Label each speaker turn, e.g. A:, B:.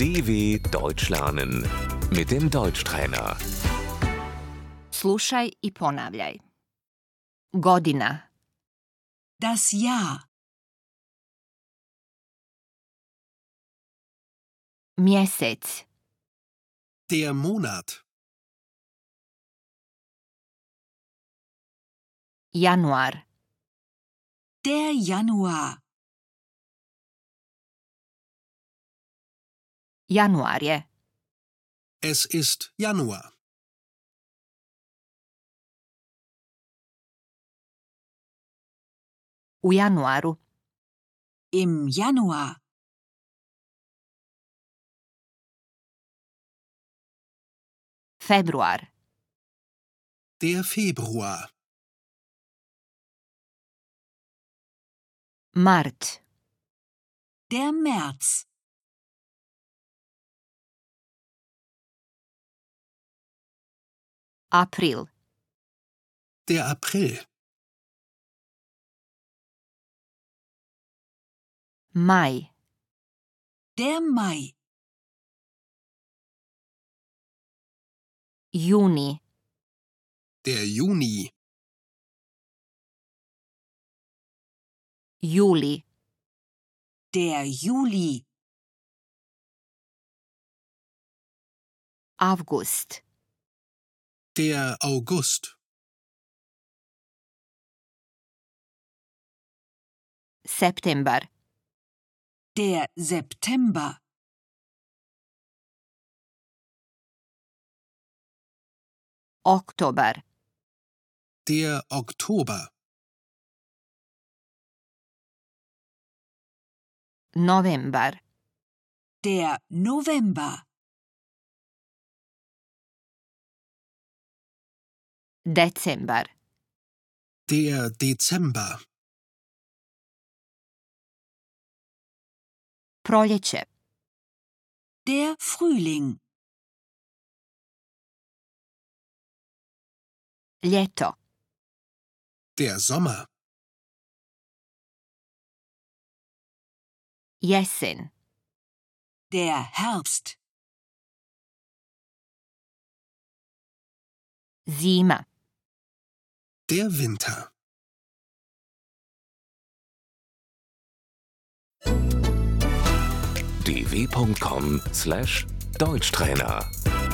A: DW Deutsch lernen mit dem Deutschtrainer.
B: Slušaj i ponavljaj. Godina,
C: Das Jahr,
B: mjesec,
D: Der Monat.
B: januar,
C: der Januar,
B: januar je,
D: Es ist Januar.
B: u januaru,
C: im Januar,
B: februar,
D: Der Februar.
B: mart,
C: der März,
B: april,
D: Der April.
B: maj,
C: der Mai,
B: juni,
D: Der Juni.
B: juli,
C: der Juli,
B: avgust,
D: Der August.
B: septembar,
C: der September,
B: oktobar,
D: Der Oktober.
B: novembar,
C: der November,
B: decembar,
D: Der Dezember.
B: proljeće,
C: der Frühling,
B: ljeto,
D: Der Sommer.
B: jesen,
C: der Herbst,
B: zima,
D: Der Winter.
A: dw.com/deutschtrainer